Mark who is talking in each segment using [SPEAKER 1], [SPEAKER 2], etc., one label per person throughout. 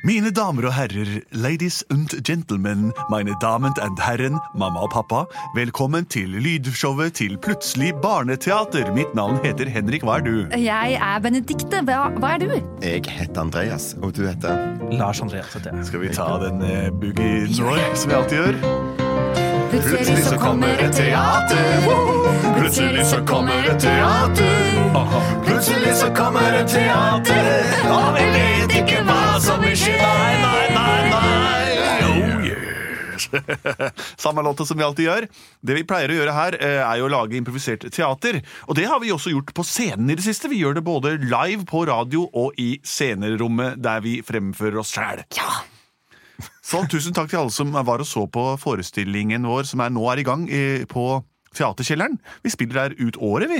[SPEAKER 1] Mine damer og herrer, ladies and gentlemen, meine damen and herren, mamma og pappa, velkommen til lydshowet til Plutselig barneteater. Mitt navn heter Henrik, hva er du?
[SPEAKER 2] Jeg er Benedikte. Hva, hva er du?
[SPEAKER 3] Jeg heter Andreas, og du heter
[SPEAKER 4] Lars Andreas heter jeg.
[SPEAKER 1] Skal vi ta den eh, boogie nå, som vi alltid gjør? Plutselig så kommer et teater. Plutselig så kommer et teater. Plutselig så kommer et teater. Og vi vet ikke hva som vil skje. Nei, nei, nei, nei. Oh, yes. Samme låta som vi alltid gjør. Det vi pleier å gjøre her, eh, er jo å lage improvisert teater. Og det har vi også gjort på scenen i det siste. Vi gjør det både live på radio og i scenerommet, der vi fremfører oss sjæl. Så tusen takk til alle som var og så på forestillingen vår, som er nå er i gang eh, på Teaterkjelleren. Vi spiller der ut året, vi.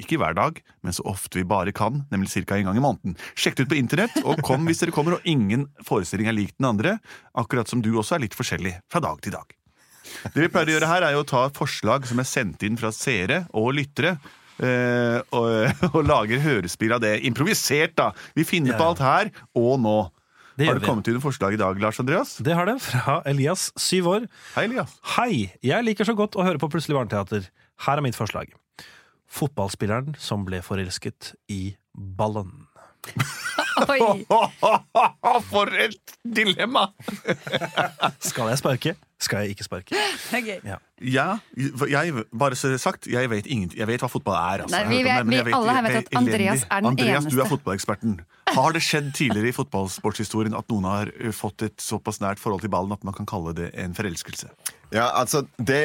[SPEAKER 1] Ikke hver dag, men så ofte vi bare kan, nemlig ca. en gang i måneden. Sjekk det ut på internett, og kom hvis dere kommer, og ingen forestilling er lik den andre, akkurat som du også er litt forskjellig fra dag til dag. Det vi pleier å gjøre her, er jo å ta forslag som er sendt inn fra seere og lyttere, eh, og, og lager hørespill av det. Improvisert, da! Vi finner
[SPEAKER 4] Ja,
[SPEAKER 1] på
[SPEAKER 4] ja.
[SPEAKER 1] alt her og nå.
[SPEAKER 4] Det
[SPEAKER 1] Har
[SPEAKER 4] gjør
[SPEAKER 1] det
[SPEAKER 4] vi.
[SPEAKER 1] kommet inn noen forslag i dag, Lars Andreas?
[SPEAKER 4] Det har det, fra Elias, syv år.
[SPEAKER 1] Hei, Elias.
[SPEAKER 4] Hei, jeg liker så godt å høre på Plutselig barneteater. Her er mitt forslag. Fotballspilleren som ble forelsket i ballen.
[SPEAKER 2] Oi.
[SPEAKER 1] For et dilemma!
[SPEAKER 4] Skal jeg sparke? Skal jeg ikke sparke?
[SPEAKER 2] Okay.
[SPEAKER 1] Ja, jeg, bare så sagt, jeg vet, ingen, jeg vet hva fotball er. Altså.
[SPEAKER 2] Nei, vi
[SPEAKER 1] Jeg har hørt om
[SPEAKER 2] vet-
[SPEAKER 1] det, men
[SPEAKER 2] vi
[SPEAKER 1] jeg
[SPEAKER 2] alle her vet
[SPEAKER 1] det er
[SPEAKER 2] at Andreas
[SPEAKER 1] elendig.
[SPEAKER 2] er den
[SPEAKER 1] Andreas, du er
[SPEAKER 2] eneste.
[SPEAKER 1] fotballeksperten. Har det skjedd tidligere i fotballsportshistorien at noen har ø, fått et såpass nært forhold til ballen at man kan kalle det en forelskelse?
[SPEAKER 3] Ja, altså, det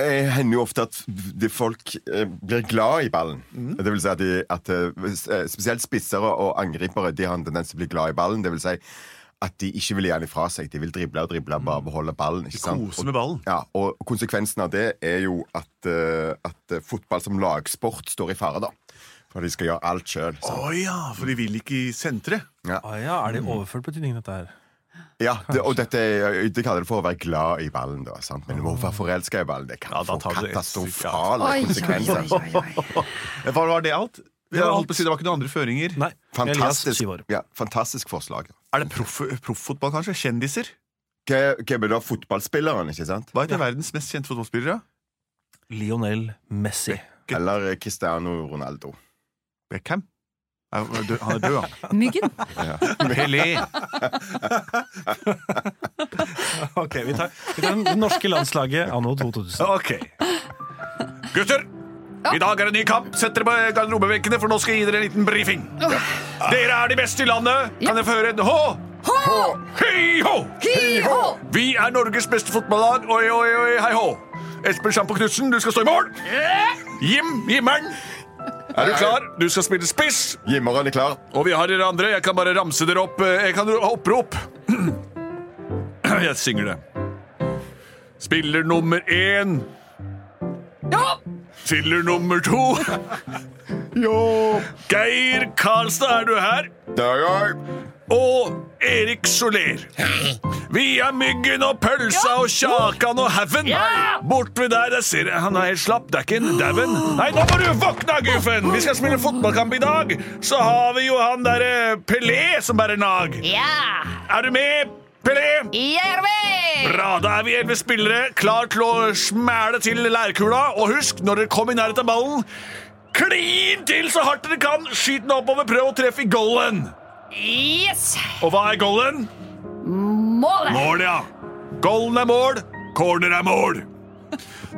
[SPEAKER 3] eh, hender jo ofte at de folk eh, blir glad i ballen.
[SPEAKER 1] Mm.
[SPEAKER 3] Det vil si at, de, at eh, spesielt spissere og angripere De har en tendens til å bli glad i ballen. Det vil si at de ikke vil gi den ifra seg. De vil drible og drible og bare beholde ballen. Ikke sant?
[SPEAKER 1] Kose Mm. med ballen.
[SPEAKER 3] Ja, og konsekvensen av det er jo at, eh, at eh, fotball som lagsport står i fare, da. For de skal gjøre alt sjøl.
[SPEAKER 1] Å ja, for de vil ikke i senteret.
[SPEAKER 3] Ja.
[SPEAKER 4] Ah, ja, er det i overført betydning, dette her?
[SPEAKER 3] Ja, det, og dette er, eh, de kaller det for å være glad i ballen, da. Sant? Men å være forelska i ballen, det kan
[SPEAKER 1] Ja, da
[SPEAKER 3] få
[SPEAKER 1] tar du et
[SPEAKER 2] Oi,
[SPEAKER 3] katastrofale
[SPEAKER 2] oi,
[SPEAKER 3] konsekvenser.
[SPEAKER 2] oi, oi.
[SPEAKER 1] Var, var det alt? Det
[SPEAKER 4] var
[SPEAKER 1] var,
[SPEAKER 4] alt.
[SPEAKER 1] alt. det var ikke noen andre føringer.
[SPEAKER 4] Nei. Elias,
[SPEAKER 3] Fantastisk,
[SPEAKER 4] syv år.
[SPEAKER 3] ja, fantastisk forslag.
[SPEAKER 1] Er det proff- profffotball, kanskje? Kjendiser?
[SPEAKER 3] Hva hva er det da fotballspilleren, ikke sant?
[SPEAKER 1] Hva heter verdens mest kjente fotballspillere?
[SPEAKER 4] Lionel Messi.
[SPEAKER 3] Eller eh, Cristiano Ronaldo.
[SPEAKER 1] Beckham? Er- er død- Han er død, han.
[SPEAKER 2] Myggen.
[SPEAKER 1] Pelé.
[SPEAKER 4] Ok, vi tar, vi tar det norske landslaget anno 2000.
[SPEAKER 1] Ok. Gutter! I dag er det en ny kamp. Sett dere på garderobebenkene, for nå skal jeg gi dere en liten brifing. Dere er de beste i landet. Kan jeg få høre en hå? Hei-hå! Vi er Norges beste fotballag. Oi, oi, oi, hei-hå. Espen Sjampo Knutsen, du skal stå i mål. Jim Jimmeren. Er du klar? Du skal spille spiss.
[SPEAKER 3] Gimmeren er klar.
[SPEAKER 1] Og vi har dere andre. Jeg kan bare ramse dere opp. eh, Jeg kan ro- opprop. Jeg synger det. Spiller nummer én. Ja! Spiller nummer to.
[SPEAKER 3] Jo!
[SPEAKER 1] Geir Karlstad, er du her?
[SPEAKER 3] Det er jeg!
[SPEAKER 1] Og Erik Soler. Vi er Myggen og Pølsa og Kjakan og Haugen. Bort ved der, der ser jeg han er helt slapp. Det er ikke en dauen. Nei, nå må du våkne, Guffen! Vi skal spille fotballkamp i dag. Så har vi jo han derre Pelé som bærer nag.
[SPEAKER 2] Ja!
[SPEAKER 1] Er du med, Pelé?
[SPEAKER 2] Jeg er med!
[SPEAKER 1] Bra, da er vi elleve spillere, klar til å smæle til lærkula. Og husk, når dere kommer i nærheten av ballen, klin til så hardt dere kan. Skyt den oppover, prøv å treffe i golden.
[SPEAKER 2] Yes!
[SPEAKER 1] Og hva er golden?
[SPEAKER 2] Målet!
[SPEAKER 1] Mål, ja. Golden er mål, corner er mål.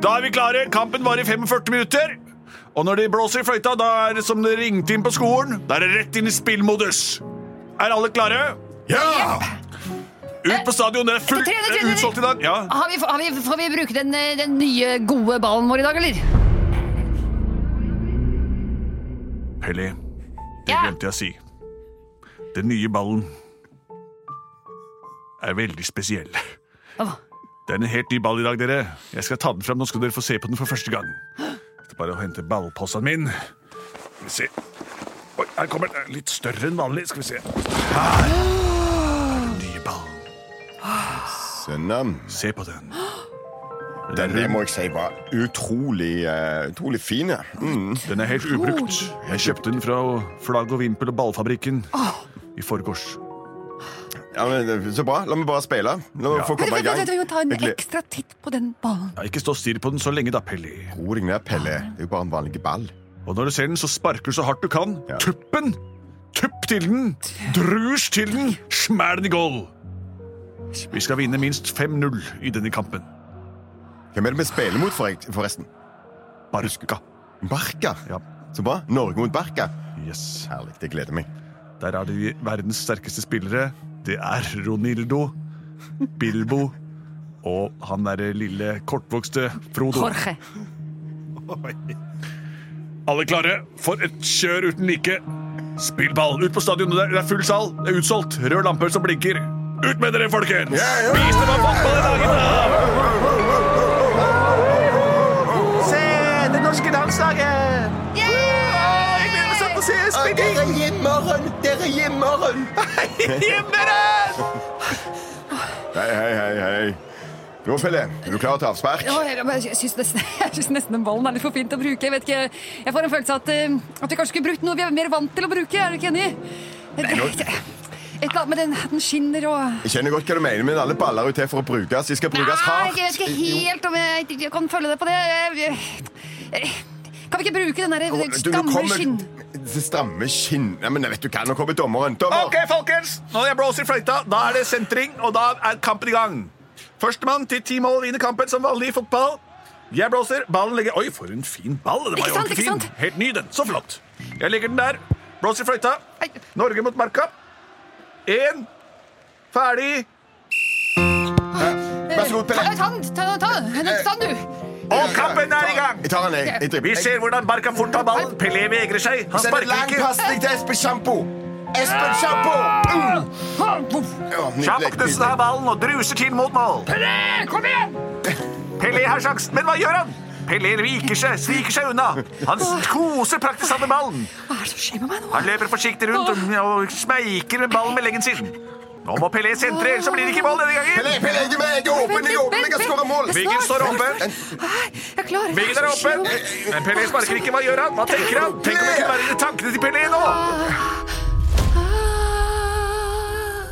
[SPEAKER 1] Da er vi klare. Kampen varer i 45 minutter. Og når de blåser i fløyta, da er det som det ringte inn på skolen. Da er det rett inn i spillmodus. Er alle klare?
[SPEAKER 3] Ja!
[SPEAKER 1] Ut på stadion. Det er fullt
[SPEAKER 2] Etter tre, etter tre,
[SPEAKER 1] det er utsolgt i dag. Ja.
[SPEAKER 2] Har vi, har vi, får vi bruke den, eh, den nye, gode ballen vår i dag, eller?
[SPEAKER 1] Pelé, det
[SPEAKER 2] Ja.
[SPEAKER 1] glemte jeg å si. Den nye ballen er veldig spesiell.
[SPEAKER 2] Hva?
[SPEAKER 1] Det er en helt ny ball i dag, dere. Jeg skal ta den fram, nå skal dere få se på den for første gang. Det er bare å hente ballposten min. Skal vi se. Oi, her kommer den. Den er Litt større enn vanlig. Skal vi se. Her er den nye ballen.
[SPEAKER 3] Sønnen.
[SPEAKER 1] Se på den.
[SPEAKER 3] Den det må jeg si var utrolig, eh, utrolig fin. ja. Mm.
[SPEAKER 1] Den er helt ubrukt. Jeg kjøpte den fra Flagg og Vimpel og Ballfabrikken i forgårs.
[SPEAKER 3] Ja, men, eh, så bra. La meg bare speile. La meg
[SPEAKER 1] Ja.
[SPEAKER 3] få komme i gang.
[SPEAKER 2] Vi må ta en
[SPEAKER 3] Jeg gled-
[SPEAKER 2] ekstra titt på den ballen.
[SPEAKER 1] Ja, ikke stå og stirr på den så lenge, da, Pelli.
[SPEAKER 3] Ro deg ned, Pelle. Det er jo bare en vanlig ball.
[SPEAKER 1] Og når du ser den, så sparker du så hardt du kan.
[SPEAKER 3] Ja.
[SPEAKER 1] Tuppen! Tupp til den! Drusj til den! Smæl den i goal! Vi skal vinne minst 5-0 i denne kampen.
[SPEAKER 3] Hvem er det vi spiller mot, forre- forresten?
[SPEAKER 1] Barka.
[SPEAKER 3] Barca.
[SPEAKER 1] Ja.
[SPEAKER 3] Så bra. Norge mot Barca.
[SPEAKER 1] Yes.
[SPEAKER 3] Herlig. Det gleder meg.
[SPEAKER 1] Der er de verdens sterkeste spillere. Det er Ronildo, Bilbo og han derre lille kortvokste Frodo.
[SPEAKER 2] Jorge.
[SPEAKER 1] Alle klare for et kjør uten like. Spill ball. Ut på stadionet der. Det er full sal. Det er utsolgt. Rød lampe som blinker. Ut med dere, folkens! Vis dem hva fotball er laget av!
[SPEAKER 5] Se, det norske landslaget! Jeg gleder meg sånn til å se spilling!
[SPEAKER 3] Dere gjemmer hun!
[SPEAKER 5] Himmelen!
[SPEAKER 3] Hei, hei, hei. hei. Nå, Pelle. Er du klar til avspark?
[SPEAKER 2] Ja, jeg- jeg- Jeg syns nesten, jeg synes nesten den ballen er litt for fint å bruke. Jeg vet ikke, jeg får en følelse av at, eh, at vi kanskje skulle brukt noe vi er mer vant til å bruke. Er du ikke enig? Et eller annet med den, at den skinner og
[SPEAKER 3] Jeg kjenner godt hva du mener, men alle baller er jo til for å brukes. De skal brukes
[SPEAKER 2] Nei,
[SPEAKER 3] hardt.
[SPEAKER 2] jeg vet ikke
[SPEAKER 3] Jo.
[SPEAKER 2] helt om jeg, jeg kan følge deg på det. Jeg- jeg- Kan vi ikke bruke den der den
[SPEAKER 3] Du, nå
[SPEAKER 2] stramme
[SPEAKER 3] kommer-
[SPEAKER 2] skinn...
[SPEAKER 3] Det stramme skinn. Nei, men jeg vet du hva, nå kommer dommeren. Dommer!
[SPEAKER 1] Ok, folkens! Når jeg blåser i fløyta, da er det sentring, og da er kampen i gang. Førstemann til ti mål vinner kampen som vanlig i fotball. Jeg blåser, ballen legger Oi, for en fin ball! Den var
[SPEAKER 2] Ikke
[SPEAKER 1] jo
[SPEAKER 2] sant,
[SPEAKER 1] ordentlig
[SPEAKER 2] ikke
[SPEAKER 1] fin.
[SPEAKER 2] sant?
[SPEAKER 1] Helt ny, den. Så flott. Jeg legger den der. Blåser i fløyta.
[SPEAKER 2] Ei.
[SPEAKER 1] Norge mot Marka. Én. Ferdig.
[SPEAKER 3] Vær så god, Pelle.
[SPEAKER 2] Ta,
[SPEAKER 3] Eh.
[SPEAKER 2] ta, den, ta, ta, den, ta, den, du.
[SPEAKER 1] Og kampen er i gang!
[SPEAKER 3] Jeg tar den, jeg. jeg
[SPEAKER 1] Vi
[SPEAKER 3] dribler.
[SPEAKER 1] ser hvordan Barca fort tar ballen. Pelé vegrer seg. Han
[SPEAKER 3] Send en
[SPEAKER 1] sparker
[SPEAKER 3] lang
[SPEAKER 1] ikke.
[SPEAKER 3] pasning til Espen Sjampo. Espen Sjampo! Mm. Ja, nydelig,
[SPEAKER 1] Sjampo Knutsen har
[SPEAKER 3] nydelig.
[SPEAKER 1] ballen og druser til mot mål. Pelé, kom igjen! Pelé har sjansen, men hva gjør han? Pelé viker seg, sviker seg unna. Han koser praktisk seg med ballen.
[SPEAKER 2] Hva er det som skjer med meg nå?
[SPEAKER 1] Han løper forsiktig rundt og, og smeiker med ballen med leggen sin. Nå må Pelé sentre, ellers så blir det ikke mål denne
[SPEAKER 3] Pelle,
[SPEAKER 1] gangen.
[SPEAKER 3] Pelle, jeg er med, jeg er åpen, jeg er åpen, jeg kan skåre mål.
[SPEAKER 1] Viggen står oppe.
[SPEAKER 2] Nei, Jeg klarer det.
[SPEAKER 1] Viggen er oppe,
[SPEAKER 3] Eh,
[SPEAKER 1] men Pelé sparker ikke. Hva gjør han? Hva tenker han? Tenk om det kunne være tankene til Pelé nå!
[SPEAKER 2] Ah,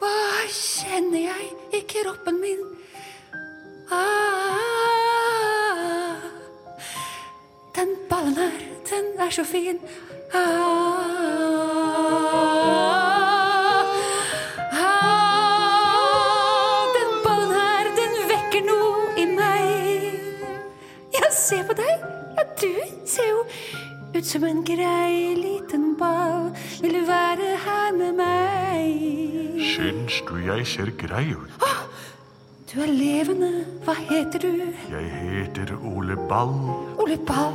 [SPEAKER 2] Hva kjenner jeg i kroppen min? Ah, Den ballen her, den er så fin. Ah, ah, Den ballen her, den vekker noe i meg. Ja, se på deg. Ja, du ser jo ut som en grei liten ball. Vil du være her med meg?
[SPEAKER 1] Syns du jeg ser grei ut?
[SPEAKER 2] Du er levende. Hva heter du?
[SPEAKER 1] Jeg heter Ole Ball.
[SPEAKER 2] Ole Ball.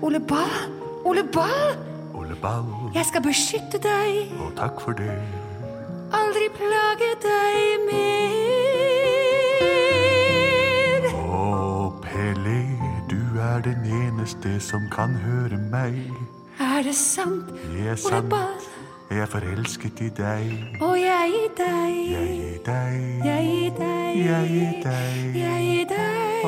[SPEAKER 2] Ole Ball. Ole Ball.
[SPEAKER 1] Ole Ball,
[SPEAKER 2] Jeg skal beskytte deg.
[SPEAKER 1] og takk for det.
[SPEAKER 2] Aldri plage deg mer.
[SPEAKER 1] Å, Pelé, du er den eneste som kan høre meg.
[SPEAKER 2] Er det sant?
[SPEAKER 1] Det er
[SPEAKER 2] Ole
[SPEAKER 1] sant.
[SPEAKER 2] Ball.
[SPEAKER 1] Jeg er forelsket i deg,
[SPEAKER 2] Og jeg i deg.
[SPEAKER 1] jeg i deg,
[SPEAKER 2] Jeg i deg.
[SPEAKER 1] jeg i deg.
[SPEAKER 2] Jeg i deg.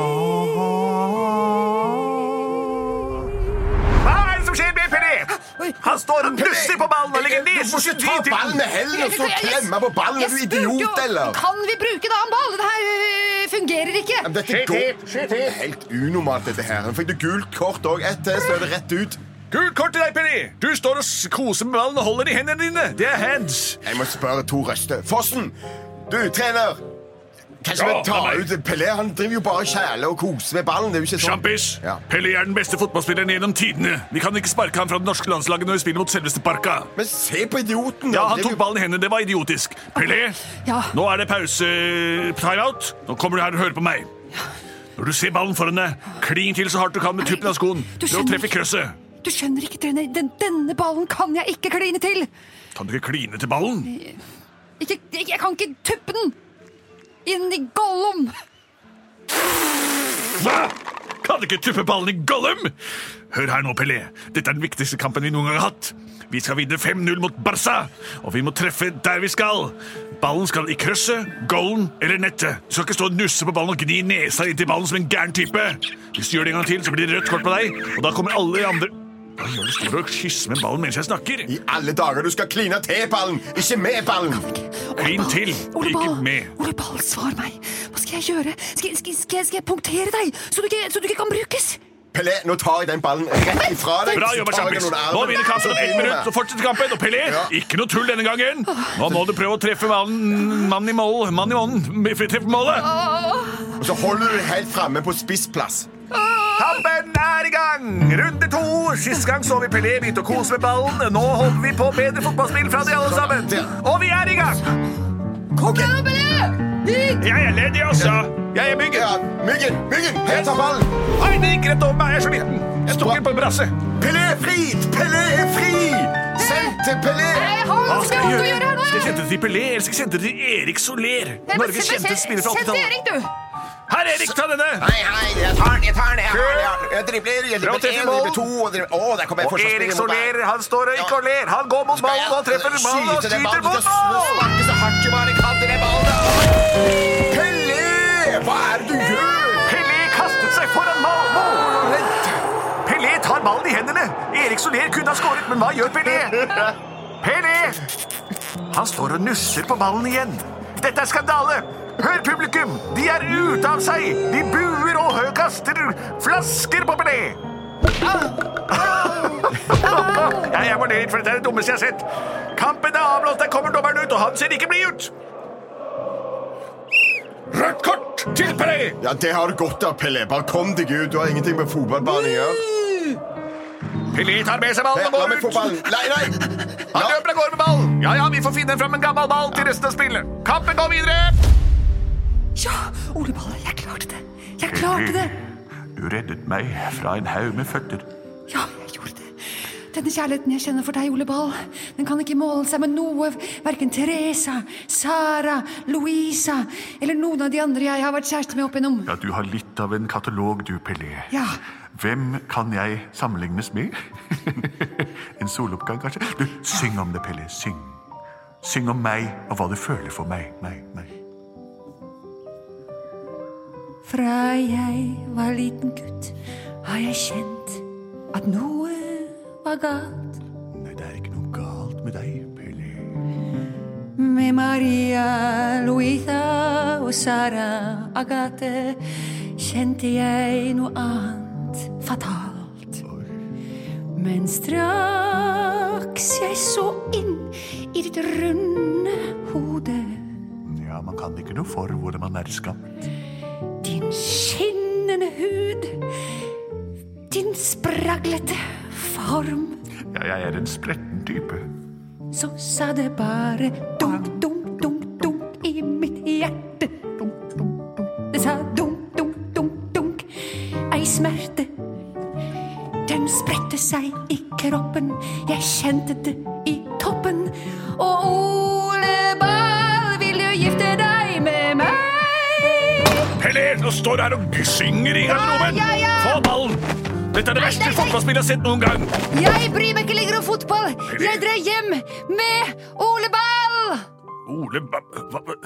[SPEAKER 1] Hva er det som skjer med Pelé? Han står og nusser på ballen og legger
[SPEAKER 3] Du må
[SPEAKER 1] nesen
[SPEAKER 3] ikke
[SPEAKER 1] sin
[SPEAKER 3] ta
[SPEAKER 1] dit til
[SPEAKER 3] ballen med hendene og så
[SPEAKER 2] Jeg- jeg-
[SPEAKER 3] klemme på ballen. Er
[SPEAKER 2] jeg
[SPEAKER 3] du
[SPEAKER 2] spurte jo,
[SPEAKER 3] idiot, eller?
[SPEAKER 2] Kan vi bruke en annen ball? Det her øh, fungerer ikke.
[SPEAKER 3] Men Dette går Det er helt unormalt, dette her. Han fikk du gult kort òg. Ett til, så er det rett ut.
[SPEAKER 1] Gult kort til deg, Pelé! Du står og s- koser med ballen og holder i hendene dine. Det er hands.
[SPEAKER 3] Jeg må spørre to røster. Fossen! Du, trener! Kanskje
[SPEAKER 1] Ja,
[SPEAKER 3] vi tar
[SPEAKER 1] det er meg.
[SPEAKER 3] ut Pelé? Han driver jo bare og kjæler og koser med ballen. Det er jo ikke sånn.
[SPEAKER 1] Sjampis!
[SPEAKER 3] Ja.
[SPEAKER 1] Pelé er den beste fotballspilleren gjennom tidene. Vi kan ikke sparke ham fra det norske landslaget når vi spiller mot selveste Barca.
[SPEAKER 3] Men se på idioten!
[SPEAKER 1] Ja, han
[SPEAKER 3] driver
[SPEAKER 1] tok
[SPEAKER 3] jo-
[SPEAKER 1] ballen i hendene. Det var idiotisk. Pelé,
[SPEAKER 2] Ja.
[SPEAKER 1] nå er det pause timeout. Nå kommer du her og hører på meg. Når du ser ballen foran deg, kling til så hardt du kan med tuppen av skoen.
[SPEAKER 2] Du
[SPEAKER 1] Ved å
[SPEAKER 2] skjønner
[SPEAKER 1] treffe
[SPEAKER 2] ikke.
[SPEAKER 1] krøsset.
[SPEAKER 2] Du skjønner ikke, trener. Den, denne ballen kan jeg ikke kline til.
[SPEAKER 1] Kan du ikke kline til ballen?
[SPEAKER 2] Ikke, jeg, jeg kan ikke tuppe den inn i Gollum.
[SPEAKER 1] Hva? Kan du ikke tuppe ballen i Gollum? Hør her nå, Pelé. Dette er den viktigste kampen vi noen gang har hatt. Vi skal vinne 5-0 mot Barca, og vi må treffe der vi skal. Ballen skal i krysset, goalen eller nettet. Du skal ikke stå og nusse på ballen og gni nesa inntil ballen som en gæren type. Hvis du gjør det en gang til, så blir det rødt kort på deg, og da kommer alle de andre Hva gjør du? Står du og kysser med ballen mens jeg snakker?
[SPEAKER 3] I alle dager, du skal kline til ballen, ikke med ballen!
[SPEAKER 1] Klin til,
[SPEAKER 2] Ole
[SPEAKER 1] ikke
[SPEAKER 2] Ball,
[SPEAKER 1] med.
[SPEAKER 2] Ole Ball, svar meg. Hva skal jeg gjøre? Skal, jeg- skal, jeg- skal, jeg- skal jeg punktere deg, så du ikke, så du ikke kan brukes?
[SPEAKER 3] Pelé, nå tar jeg den ballen rett ifra deg.
[SPEAKER 1] Bra
[SPEAKER 3] så
[SPEAKER 1] jobba,
[SPEAKER 3] tar jeg
[SPEAKER 1] Champis.
[SPEAKER 3] den under
[SPEAKER 1] Nå
[SPEAKER 3] armen.
[SPEAKER 1] vinner kampen om ett minutt, og fortsetter kampen. Og Pelé,
[SPEAKER 3] Ja.
[SPEAKER 1] ikke noe tull denne gangen. Nå må du prøve å treffe mannen mann i mål. Mann i månen. Treffe målet.
[SPEAKER 3] Og så holder du helt framme på spissplass.
[SPEAKER 1] Kampen er i gang! Runde to. Sist gang så vi Pelé begynte å kose med ballen. Nå håper vi på bedre fotballspill fra de alle sammen. Og vi er i gang! Jeg er ledig altså. også. Jeg er
[SPEAKER 3] Ja,
[SPEAKER 1] myggen.
[SPEAKER 3] myggen, myggen, her tar ballen!
[SPEAKER 1] Nei, det gikk rett over meg. Jeg er så liten. Jeg tok den på en brasse.
[SPEAKER 3] Pelé er fri! Pelé er fri! Send til Pelé!
[SPEAKER 1] Hva
[SPEAKER 2] skal jeg gjøre her nå?
[SPEAKER 1] Skal jeg sende det til Pelé, eller skal jeg sende det til Erik Soler? Norges kjente spiller fra 80-tallet.
[SPEAKER 2] du!
[SPEAKER 1] Her, Erik, ta denne!
[SPEAKER 3] Hei, hei, jeg tar den, jeg tar den! Jeg, har den, jeg, har- jeg dribler, jeg
[SPEAKER 1] Bra
[SPEAKER 3] dribler
[SPEAKER 1] til
[SPEAKER 3] én,
[SPEAKER 1] mål.
[SPEAKER 3] dribler to og dribler Å, der kommer jeg
[SPEAKER 1] Og
[SPEAKER 3] fortsatt
[SPEAKER 1] Erik
[SPEAKER 3] spille mot
[SPEAKER 1] Soler,
[SPEAKER 3] ballen.
[SPEAKER 1] han står og ikke og ler. Han går mot ballen og treffer ballen og skyter mot
[SPEAKER 3] ballen! Nå
[SPEAKER 1] ballen!
[SPEAKER 3] sparker så hardt jeg bare kan til den ballen! da. Pelé! Hva er det du gjør?
[SPEAKER 1] Pelé kastet seg foran mål! mål.
[SPEAKER 3] Vent.
[SPEAKER 1] Pelé tar ballen i hendene. Erik Soler kunne ha skåret, men hva gjør Pelé? Pelé! Han står og nusser på ballen igjen. Dette er skandale! Hør publikum! De er ute av seg! De buer og hø- kaster flasker på Pelé! Ja, jeg må ned litt, for dette er det dummeste jeg har sett. Kampen er avblåst, der kommer dommeren ut, og han ser ikke blid ut! Rødt kort til Pelé!
[SPEAKER 3] Ja, det har du godt av, Pelé. Bare kom deg ut. Du har ingenting med fotballbanen å gjøre.
[SPEAKER 1] Pelé tar med seg
[SPEAKER 3] Her,
[SPEAKER 1] ballen og
[SPEAKER 3] La
[SPEAKER 1] går
[SPEAKER 3] meg få
[SPEAKER 1] ut.
[SPEAKER 3] ballen. Nei, nei!
[SPEAKER 1] Han
[SPEAKER 3] Ja.
[SPEAKER 1] løper av gårde med ballen. Ja, ja, vi får finne fram en gammel ball til resten av spillet. Kampen går videre.
[SPEAKER 2] Ja, Ole Ball, jeg klarte det. Jeg klarte det.
[SPEAKER 1] Du reddet meg fra en haug med føtter.
[SPEAKER 2] Ja, jeg gjorde det. Denne kjærligheten jeg kjenner for deg, Ole Ball, den kan ikke måle seg med noe. Verken Teresa, Sara, Louisa eller noen av de andre jeg har vært kjæreste med opp igjennom.
[SPEAKER 1] Ja, du har litt av en katalog, du, Pelé.
[SPEAKER 2] Ja.
[SPEAKER 1] Hvem kan jeg sammenlignes med? en soloppgang, kanskje? Du, syng om det, Pelé. Syng. Syng om meg og hva du føler for meg. meg, meg.
[SPEAKER 2] Fra jeg var liten gutt, har jeg kjent at noe var galt
[SPEAKER 1] Nei, det er ikke noe galt med deg, Pelé.
[SPEAKER 2] med Maria, Louisa og Sara Agathe. Kjente jeg noe annet fatalt. Men straks jeg så inn i ditt runde hode,
[SPEAKER 1] Ja, man kan ikke noe for hvordan man er skapt.
[SPEAKER 2] din skinnende hud, din spraglete form.
[SPEAKER 1] Ja, jeg er en spretten type.
[SPEAKER 2] så sa det bare dunk, dunk, dunk, dunk i mitt hjerte. Dunk, dunk, dunk. Det sa dunk, dunk, dunk, dunk. Ei smerte. Den spredte seg i kroppen. Jeg kjente det i toppen. Og Ole Ball, vil du gifte deg med meg?
[SPEAKER 1] Pelé, nå står du her og synger i garderoben!
[SPEAKER 2] Ja, ja, ja.
[SPEAKER 1] Få ballen! Dette er det verste
[SPEAKER 2] nei, nei.
[SPEAKER 1] fotballspillet jeg har sett noen gang.
[SPEAKER 2] Jeg bryr meg ikke lenger om fotball. Jeg drar hjem med Ole Ball.
[SPEAKER 1] Ole, ba, ba, ba.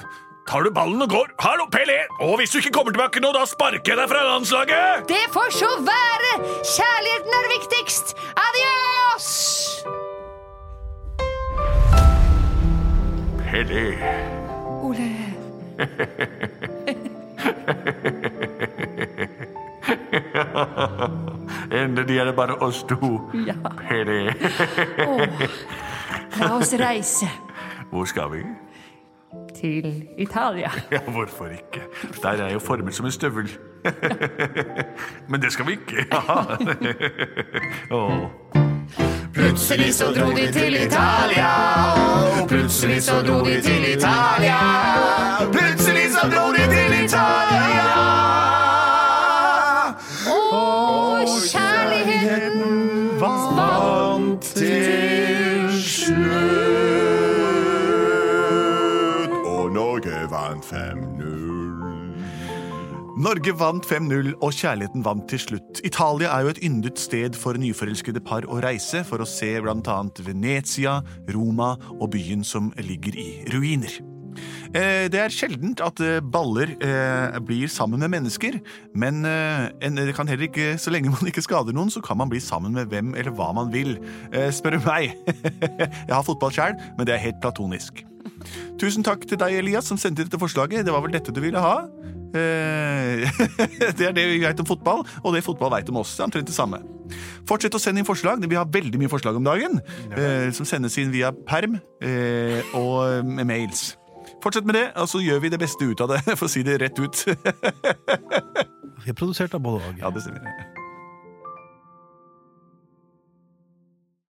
[SPEAKER 1] tar du ballen og går? Hallo, Pelé! Og hvis du ikke kommer tilbake nå, da sparker jeg deg fra landslaget!
[SPEAKER 2] Det får så være! Kjærligheten er viktigst! Adios!
[SPEAKER 1] Pelé,
[SPEAKER 2] Ole,
[SPEAKER 1] endelig er det bare oss to.
[SPEAKER 2] Ja.
[SPEAKER 1] Pelé,
[SPEAKER 2] la oss reise
[SPEAKER 1] hvor skal vi?
[SPEAKER 2] til Italia.
[SPEAKER 1] Ja, hvorfor ikke? Der er jeg jo formet som en støvel. Men det skal vi ikke ha. Åh.
[SPEAKER 6] Plutselig så dro de til Italia. Og plutselig så dro de til Italia. Plutselig så dro de til Italia.
[SPEAKER 2] Og kjærligheten
[SPEAKER 6] Vant til
[SPEAKER 3] Slutt. Og Norge vant 5-0.
[SPEAKER 7] Norge vant 5-0, og kjærligheten vant til slutt. Italia er jo et yndet sted for nyforelskede par å reise for å se bl.a. Venezia, Roma og byen som ligger i ruiner.
[SPEAKER 1] Eh, Det er sjeldent at eh, baller eh, blir sammen med mennesker, men eh, en- det kan heller ikke, så lenge man ikke skader noen, så kan man bli sammen med hvem eller hva man vil. Eh, Spør du meg. Jeg har fotball sjæl, men det er helt platonisk. Tusen takk til deg, Elias, som sendte dette forslaget. Det var vel dette du ville ha? Eh, Det er det vi vet om fotball, og det fotball vet om oss. Det er omtrent det samme. Fortsett å sende inn forslag. Vi har veldig mye forslag om dagen, eh, som sendes inn via perm eh, og med mails. Fortsett med det, og så gjør vi det beste ut av det, for å si det rett ut.
[SPEAKER 4] Vi er produsert av både og.
[SPEAKER 1] ja, det stemmer.